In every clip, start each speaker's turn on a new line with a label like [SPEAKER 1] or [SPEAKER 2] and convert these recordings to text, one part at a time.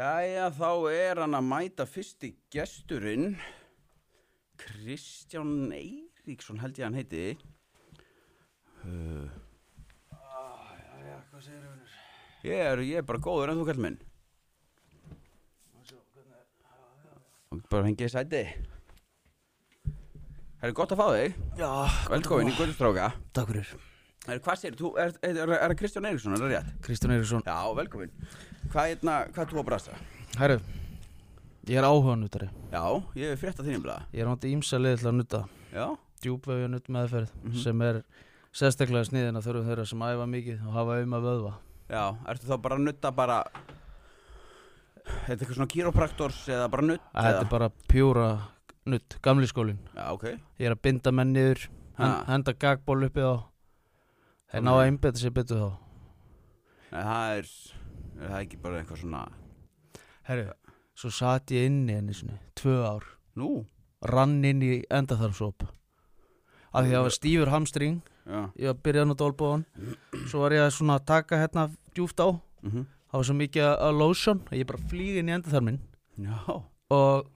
[SPEAKER 1] Jæja, þá er hann að mæta fyrsti gesturinn, Kristján Eiríksson held ég hann heiti. Uh, Ah,
[SPEAKER 2] Jæja, hvað segir þau vinnur?
[SPEAKER 1] ég, er, ég er bara góður en þú kall minn. Og bara hengið sæti. Það er gott að fá þig.
[SPEAKER 2] Já,
[SPEAKER 1] Velkomin í Guðstráka.
[SPEAKER 2] Takk fyrir.
[SPEAKER 1] Er, hvað sér, þú, er, er, er, er Kristján Eiríksson, er það rétt?
[SPEAKER 2] Kristján Eiríksson.
[SPEAKER 1] Já, velkomin. Hvað er hvað þú að brasta?
[SPEAKER 2] Herru, ég er áhuga nutari.
[SPEAKER 1] Já, ég hef frétt að þínum blaða.
[SPEAKER 2] Ég er átti ímsa leiði til að nuta.
[SPEAKER 1] Já,
[SPEAKER 2] Djúbvefja nut meðferð
[SPEAKER 1] Mhm.
[SPEAKER 2] sem er sérstaklega sniðin að þurfum þeirra sem æfa mikið og hafa um að vöðva.
[SPEAKER 1] já, ertu þá bara að nutta bara, er þetta eitthvað svona kýropraktors eða bara nutt?
[SPEAKER 2] Þetta er bara pjúra nutt, gamli skólin.
[SPEAKER 1] Já, ok.
[SPEAKER 2] Ég er að binda menn niður,
[SPEAKER 1] Ha.
[SPEAKER 2] hen- henda gagból uppið á. Þeir ná að einbetta sér betur þá.
[SPEAKER 1] Nei, það er, er það ekki bara eitthvað svona,
[SPEAKER 2] Herru, svo satt ég inni henni svona, tvö ár.
[SPEAKER 1] nú,
[SPEAKER 2] Rann inn í endaþarmsóp. Af því að það var stífur hamstring
[SPEAKER 1] já,
[SPEAKER 2] ég var byrjaði að nota olbóðan svo var ég að svona taka hérna djúft á það
[SPEAKER 1] mhm,
[SPEAKER 2] var svo mikið að- að lotion að ég bara flýg inn í endaþarminn
[SPEAKER 1] já,
[SPEAKER 2] og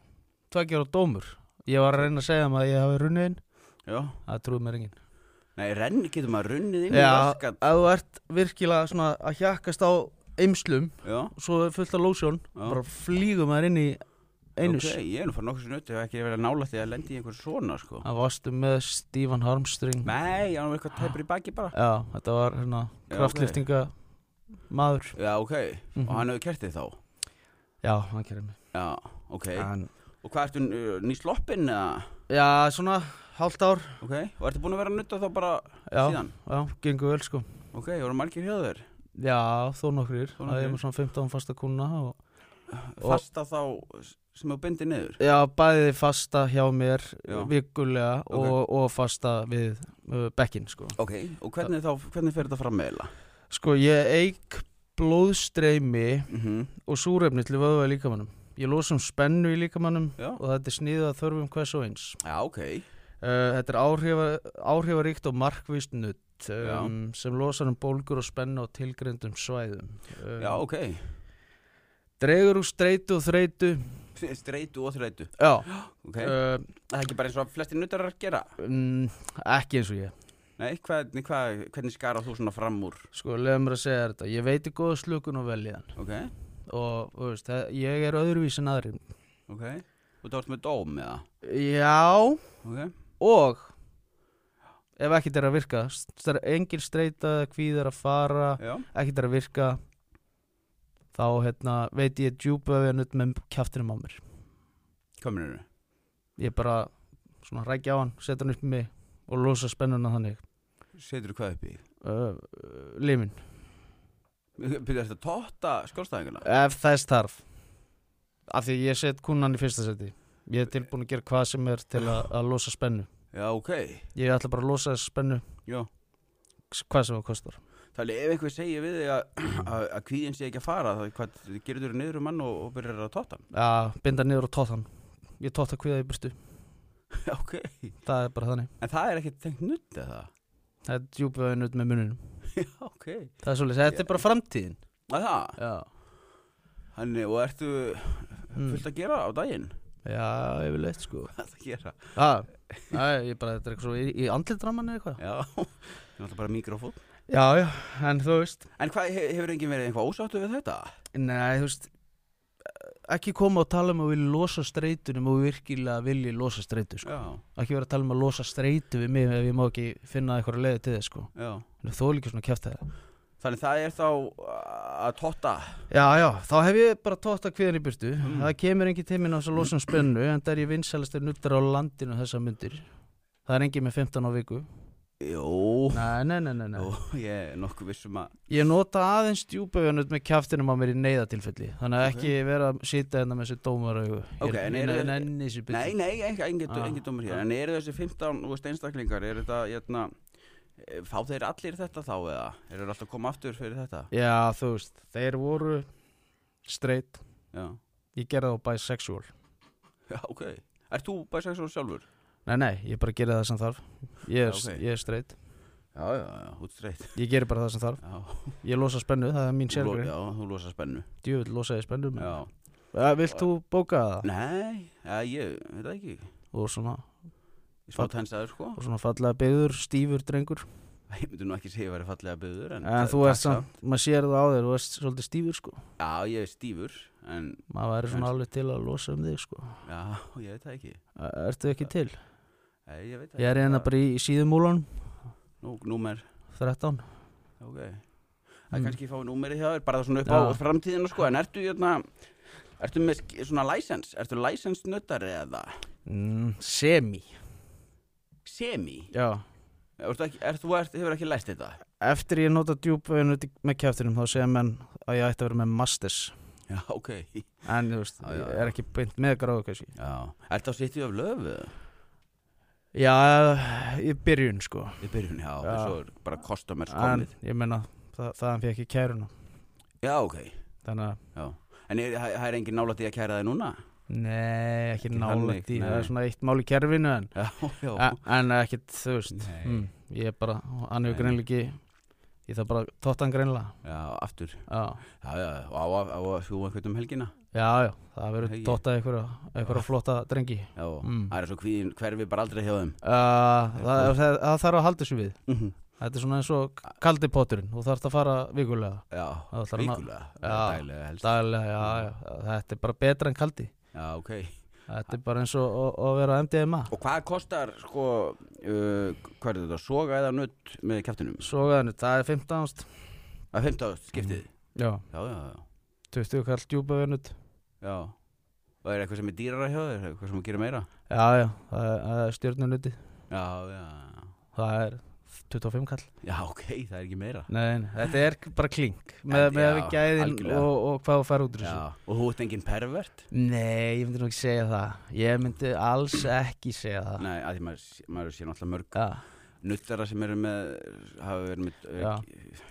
[SPEAKER 2] tveggjara dómur ég var að reyna að segja þeim að ég hafi runnið inn
[SPEAKER 1] já.
[SPEAKER 2] það trúið mér enginn
[SPEAKER 1] Nei, renni getur maður runnið inn í
[SPEAKER 2] Já,
[SPEAKER 1] raskat.
[SPEAKER 2] ef þú ert virkilega svona að hjakkast á eimslum
[SPEAKER 1] Já,
[SPEAKER 2] svo er fullt af lotion
[SPEAKER 1] Já.
[SPEAKER 2] bara flýgum maður inn í einus
[SPEAKER 1] ok, ég er nú farið nokkuð sem nutt, ég hef ekki verið að nála því að lendi í einhver svona, sko.
[SPEAKER 2] það varstu með Stephen Harmstring
[SPEAKER 1] Nei, hann var eitthvað tæpur í baki bara.
[SPEAKER 2] já, þetta var hérna
[SPEAKER 1] Já,
[SPEAKER 2] kraftliftinga maður
[SPEAKER 1] Já, ok,
[SPEAKER 2] Mhm.
[SPEAKER 1] og hann hefur kert þig þá.
[SPEAKER 2] já, hann kæri mig
[SPEAKER 1] Já, ok.
[SPEAKER 2] en,
[SPEAKER 1] Og hvað ertu uh, nýsloppinn eða?
[SPEAKER 2] já, svona hálft ár
[SPEAKER 1] Ok, og ertu búin að vera að nutta þá bara
[SPEAKER 2] já,
[SPEAKER 1] síðan?
[SPEAKER 2] Já, gengur vel sko
[SPEAKER 1] Ok, voru margir hjá þér?
[SPEAKER 2] Já, þó nokkrir,
[SPEAKER 1] Þó
[SPEAKER 2] það er
[SPEAKER 1] nokkrir.
[SPEAKER 2] með svona 15 fasta kuna og... Og-
[SPEAKER 1] Fasta þá sem þú bindir niður?
[SPEAKER 2] Já, bæði fasta hjá mér
[SPEAKER 1] Já.
[SPEAKER 2] vikulega
[SPEAKER 1] Ok.
[SPEAKER 2] og, og fasta við uh, bekkin sko
[SPEAKER 1] Ok, og hvernig þá, hvernig fer þetta fram meila?
[SPEAKER 2] Sko, ég eik blóðstreymi
[SPEAKER 1] Mm -hmm.
[SPEAKER 2] og súrefni til vöðva í líkamannum Ég losa um spennu í líkamannum
[SPEAKER 1] Já.
[SPEAKER 2] og þetta er sniðið að þörfum hvers og eins
[SPEAKER 1] Já, ok.
[SPEAKER 2] uh, Þetta er áhrifa, áhrifaríkt og markvist nutt um, sem losar um bólgur og spennu á tilgrendum svæðum um,
[SPEAKER 1] Já, ok.
[SPEAKER 2] Dregur úr streitu og þreitu
[SPEAKER 1] Streitu og þreitu.
[SPEAKER 2] Já,
[SPEAKER 1] Ok.
[SPEAKER 2] uh,
[SPEAKER 1] það er ekki bara eins og flesti nuttarar gera.
[SPEAKER 2] Mm, ekki eins og ég
[SPEAKER 1] Nei, hvernig, hvað, hvernig skara þú svona fram úr?
[SPEAKER 2] Sko, leiðum mér að segja þér þetta Ég veiti góða slökun og veljiðan
[SPEAKER 1] Ok,
[SPEAKER 2] Og, þú veist, það, ég er öðruvísin aðri
[SPEAKER 1] ok. Og þú ert með dóm eða?
[SPEAKER 2] Já,
[SPEAKER 1] Ok.
[SPEAKER 2] og Ef ekkert er að virka Það er engin streita, kvíð er að fara
[SPEAKER 1] Já.
[SPEAKER 2] Ekkert er að virka Þá, hérna, veit ég djúpa við nutt með kjaftinum á mér
[SPEAKER 1] Kominir þú?
[SPEAKER 2] Ég bara, svona, rækja á hann Setja hann upp með mig og losa spennuna þannig
[SPEAKER 1] Setur þú hvað upp í?
[SPEAKER 2] uh, Limin,
[SPEAKER 1] Byrjar þetta tóta skjólstæðinguna?
[SPEAKER 2] Ef það er starf Af því ég set kúnan í fyrsta seti Ég er tilbúin að gera hvað sem er til að, að losa spennu
[SPEAKER 1] Já, ok.
[SPEAKER 2] Ég ætla bara að losa þessa spennu
[SPEAKER 1] Já.
[SPEAKER 2] s- Hvað sem það kostar
[SPEAKER 1] Þannig ef einhver segir við þig að- að að kvíðin sé ekki að fara, þá hvað, gerir þú niður um hann og, og byrjar að tóta?
[SPEAKER 2] Já, binda niður og tóta hann Ég tóta kviða í burtu
[SPEAKER 1] Já, ok.
[SPEAKER 2] Það er bara þannig
[SPEAKER 1] En það er ekki tengt nutt eða?
[SPEAKER 2] Það er djúpveginn út með muninum
[SPEAKER 1] Já, ok.
[SPEAKER 2] Það er svolítið, þetta er bara framtíðin
[SPEAKER 1] Að það?
[SPEAKER 2] Já,
[SPEAKER 1] Þannig, og ertu
[SPEAKER 2] mm.
[SPEAKER 1] fullt að gera á daginn?
[SPEAKER 2] Já yfirleitt sko
[SPEAKER 1] Hmm. Fullt að gera?
[SPEAKER 2] Já, já, ég bara, þetta er eitthvað svo í, í andlitraman eða eitthvað
[SPEAKER 1] Já, það er alltaf bara mikrofón.
[SPEAKER 2] Já, já, en þú veist
[SPEAKER 1] En hvað, he- hefur enginn verið eitthvað ósáttu við þetta?
[SPEAKER 2] Nei, þú veist ekki koma og tala um að vilja losa streitunum og virkilega vilja losa streitu sko.
[SPEAKER 1] Já,
[SPEAKER 2] ekki vera að tala um að losa streitu við mig ef ég má ekki finna eitthvað leiði til þess sko.
[SPEAKER 1] já.
[SPEAKER 2] þó líka svona kjæft það
[SPEAKER 1] Þannig það er þá uh, að totta.
[SPEAKER 2] já, já, þá hef ég bara tótt að kviðan í burtu það kemur engin til minn á þess að losa um spennu en það er ég vinsælastir nuttar á landinu þessa myndir það er engin með 15 á viku
[SPEAKER 1] Jó.
[SPEAKER 2] nei, nei, nei, nei, nei.
[SPEAKER 1] Jó, ég er nokkuð vissum að...
[SPEAKER 2] ég nota aðeins djúpaugjanut með kjæftinum á mér í neyðatilfelli þannig að
[SPEAKER 1] Ok.
[SPEAKER 2] ekki vera að sita hérna með þessi dómaraugu
[SPEAKER 1] Ok, en
[SPEAKER 2] ég,
[SPEAKER 1] eru
[SPEAKER 2] ég
[SPEAKER 1] þeir-
[SPEAKER 2] nenni þessu burtu
[SPEAKER 1] Nei, nei, engin, engin,
[SPEAKER 2] Ah.
[SPEAKER 1] engin dómur hér. En eru þessi 15 úr steinstaklingar, eru þetta, jæna, fá þeir allir þetta þá eða? Eru þeir alltaf að koma aftur fyrir þetta?
[SPEAKER 2] Já, þú veist, þeir voru straight,
[SPEAKER 1] Já,
[SPEAKER 2] ég gerði þá bisexual
[SPEAKER 1] já ok. Er þú bæsaks og sjálfur?
[SPEAKER 2] Nei, nei, ég bara gerði það sem þarf Ég er,
[SPEAKER 1] Já, ok.
[SPEAKER 2] ég er straight
[SPEAKER 1] Já, já, já, útstreitt
[SPEAKER 2] Ég gerir bara það sem þarf
[SPEAKER 1] Já,
[SPEAKER 2] Ég losa spennu, það er
[SPEAKER 1] Þú
[SPEAKER 2] mín
[SPEAKER 1] lo-
[SPEAKER 2] sérgrei
[SPEAKER 1] já, þú losa spennu
[SPEAKER 2] Djúvill losa ég spennu maður.
[SPEAKER 1] Já,
[SPEAKER 2] Eh, Vilt þú bóka það?
[SPEAKER 1] nei, já, ég, veit það ekki
[SPEAKER 2] Og svona,
[SPEAKER 1] Ég smá tensaður sko
[SPEAKER 2] og svona fallega byggður, stífur drengur
[SPEAKER 1] Ég myndi nú ekki segja að ég væri fallega byggður En,
[SPEAKER 2] En
[SPEAKER 1] það-
[SPEAKER 2] þú
[SPEAKER 1] takk
[SPEAKER 2] ert samt, maður sér það á þér Þú ert svolítið stífur sko
[SPEAKER 1] Já, ég er stífur En,
[SPEAKER 2] Maður væri svona
[SPEAKER 1] En-
[SPEAKER 2] alveg til að losa um þig sko
[SPEAKER 1] já, ég veit það ekki
[SPEAKER 2] Eh, Ertu ekki til?
[SPEAKER 1] Nei, ég veit það
[SPEAKER 2] Ég er hérna bara í síðumúlan
[SPEAKER 1] Nú, númer,
[SPEAKER 2] 13
[SPEAKER 1] ok Það
[SPEAKER 2] Mm.
[SPEAKER 1] er kannski fáið númerið hjá þér Bara svona upp á
[SPEAKER 2] Já.
[SPEAKER 1] framtíðina sko En ertu, hérna Ertu með sk- svona license? Ertu license nöttari eða
[SPEAKER 2] mm, Semi
[SPEAKER 1] semi?
[SPEAKER 2] Já
[SPEAKER 1] Ertu ekki, er, þú ert, hefur ekki læst þetta?
[SPEAKER 2] Eftir ég nota djúpveginu með kjæftinum Þá segja menn að ég ætti að vera með masters
[SPEAKER 1] Já, ok
[SPEAKER 2] En þú veist,
[SPEAKER 1] Já, já,
[SPEAKER 2] ég
[SPEAKER 1] já.
[SPEAKER 2] er ekki beint með gráðu kannski
[SPEAKER 1] Já, ertu á sittið af löfu?
[SPEAKER 2] Já, í byrjun sko
[SPEAKER 1] Í byrjun, já,
[SPEAKER 2] Já.
[SPEAKER 1] já. svo er bara customers
[SPEAKER 2] En
[SPEAKER 1] komið
[SPEAKER 2] ég meina, það, þaðan fyrir ekki kæruna
[SPEAKER 1] Já, ok
[SPEAKER 2] Þannig að,
[SPEAKER 1] já. En er- það það er engin nálætt í að kæra það núna?
[SPEAKER 2] nei, ekki
[SPEAKER 1] Ekki
[SPEAKER 2] nálægt
[SPEAKER 1] þannig,
[SPEAKER 2] í
[SPEAKER 1] nei.
[SPEAKER 2] Það er svona eitt mál í kerfinu en
[SPEAKER 1] Já, já
[SPEAKER 2] En, en ekkit, þú veist
[SPEAKER 1] Nei.
[SPEAKER 2] mm, Ég er bara, hann
[SPEAKER 1] Nei.
[SPEAKER 2] hefur greinlega ekki Ég þarf bara að tótt hann greinlega
[SPEAKER 1] Já, aftur
[SPEAKER 2] Já,
[SPEAKER 1] Já, já, og á, á, á að fljúa einhvern um helgina
[SPEAKER 2] já, já það verður
[SPEAKER 1] Hei.
[SPEAKER 2] tótt að einhverja,
[SPEAKER 1] Ah.
[SPEAKER 2] einhverja flotta drengi uh,
[SPEAKER 1] Já,
[SPEAKER 2] Mm.
[SPEAKER 1] það er svo kvíðin hverfi bara aldrei hjá þeim
[SPEAKER 2] Eh, það, það, það þarf að halda þessu við
[SPEAKER 1] Mhm.
[SPEAKER 2] Þetta er svona eins og kaldi potturinn Þú þarfst að fara vikulega
[SPEAKER 1] Já,
[SPEAKER 2] Það ætlar að ná-
[SPEAKER 1] vikulega
[SPEAKER 2] Já.
[SPEAKER 1] Dælega helst
[SPEAKER 2] Daglega, já, já, þetta er bara betra en kaldi
[SPEAKER 1] Já, ok
[SPEAKER 2] Þetta er bara eins og og- og að vera á MDMA
[SPEAKER 1] Og hvað kostar, sko, uh, hvað er þetta, soga eða nutt með kæftinum?
[SPEAKER 2] Sogaðinu, það er 15 ást
[SPEAKER 1] Að 15 skiptið
[SPEAKER 2] Já,
[SPEAKER 1] Mm. Já, já, já
[SPEAKER 2] 20 kall djúpavenut
[SPEAKER 1] Já Og er eitthvað sem er dýrara hjá þér, eitthvað sem að gera meira?
[SPEAKER 2] Já, já, það er- það er stjórnunuti
[SPEAKER 1] Já, já, já
[SPEAKER 2] Það er 25 kall
[SPEAKER 1] Já, ok, það er ekki meira
[SPEAKER 2] Nei, nei, þetta er bara klink með,
[SPEAKER 1] En-
[SPEAKER 2] með
[SPEAKER 1] já,
[SPEAKER 2] gæðin
[SPEAKER 1] algjörlega.
[SPEAKER 2] og, og hvað þú fær út úr þessu
[SPEAKER 1] Já, og þú ert enginn pervert?
[SPEAKER 2] Nei, ég myndi nú ekki segja það Ég myndi alls ekki segja það
[SPEAKER 1] Nei, að því maður, sé- maður sé náttúrulega mörg
[SPEAKER 2] Já,
[SPEAKER 1] nuttara sem eru með, hafa verið með
[SPEAKER 2] Já.
[SPEAKER 1] uh,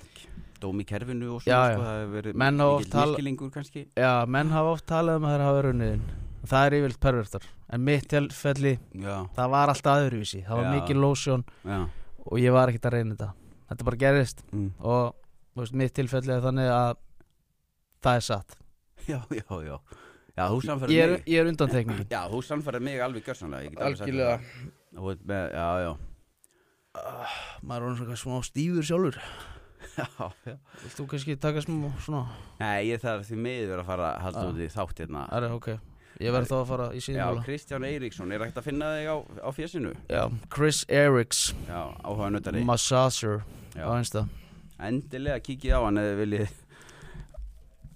[SPEAKER 1] dóm í kerfinu og
[SPEAKER 2] Já,
[SPEAKER 1] svona,
[SPEAKER 2] já.
[SPEAKER 1] sko, það hefur verið
[SPEAKER 2] Menn hafa oft tala-
[SPEAKER 1] miskilingur kannski.
[SPEAKER 2] já menn hafa oft talað um að þeir hafa runniðin Það er yfirlt pervertar En mitt tilfelli,
[SPEAKER 1] Já,
[SPEAKER 2] það var alltaf aðurvísi Það var
[SPEAKER 1] Já.
[SPEAKER 2] mikið lósjón
[SPEAKER 1] já.
[SPEAKER 2] og ég var ekkert að reyna þetta Þetta bara gerist
[SPEAKER 1] Mm.
[SPEAKER 2] og þú veist, mitt tilfelli er þannig að það er satt
[SPEAKER 1] Já, já, já. Já, þú samfærir
[SPEAKER 2] Ég er,
[SPEAKER 1] mig.
[SPEAKER 2] ég er undantekningin
[SPEAKER 1] Já, þú samfærir mig alveg gjörsanlega, ég get alveg sagt þér það. Þú ert með, já, já.
[SPEAKER 2] Ah, Maður er orðinn svona smá stífur sjálfur
[SPEAKER 1] Já, já.
[SPEAKER 2] Vilt þú kannski taka smá svona
[SPEAKER 1] Nei, ég þarf því miður að fara að halda
[SPEAKER 2] Já.
[SPEAKER 1] út í þátt hérna.
[SPEAKER 2] Það er ok Ég verð þá að fara í
[SPEAKER 1] Já,
[SPEAKER 2] síðan
[SPEAKER 1] Kristján Eiríksson, er hægt að finna þig á, á fjesinu?
[SPEAKER 2] Já, Chris Eriks
[SPEAKER 1] Já, áhuga nöttari.
[SPEAKER 2] Massager á einsta
[SPEAKER 1] endilega kikið á hann eða viljið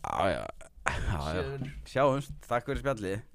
[SPEAKER 1] já, já, já, já. sjáumst, takk fyrir spjallið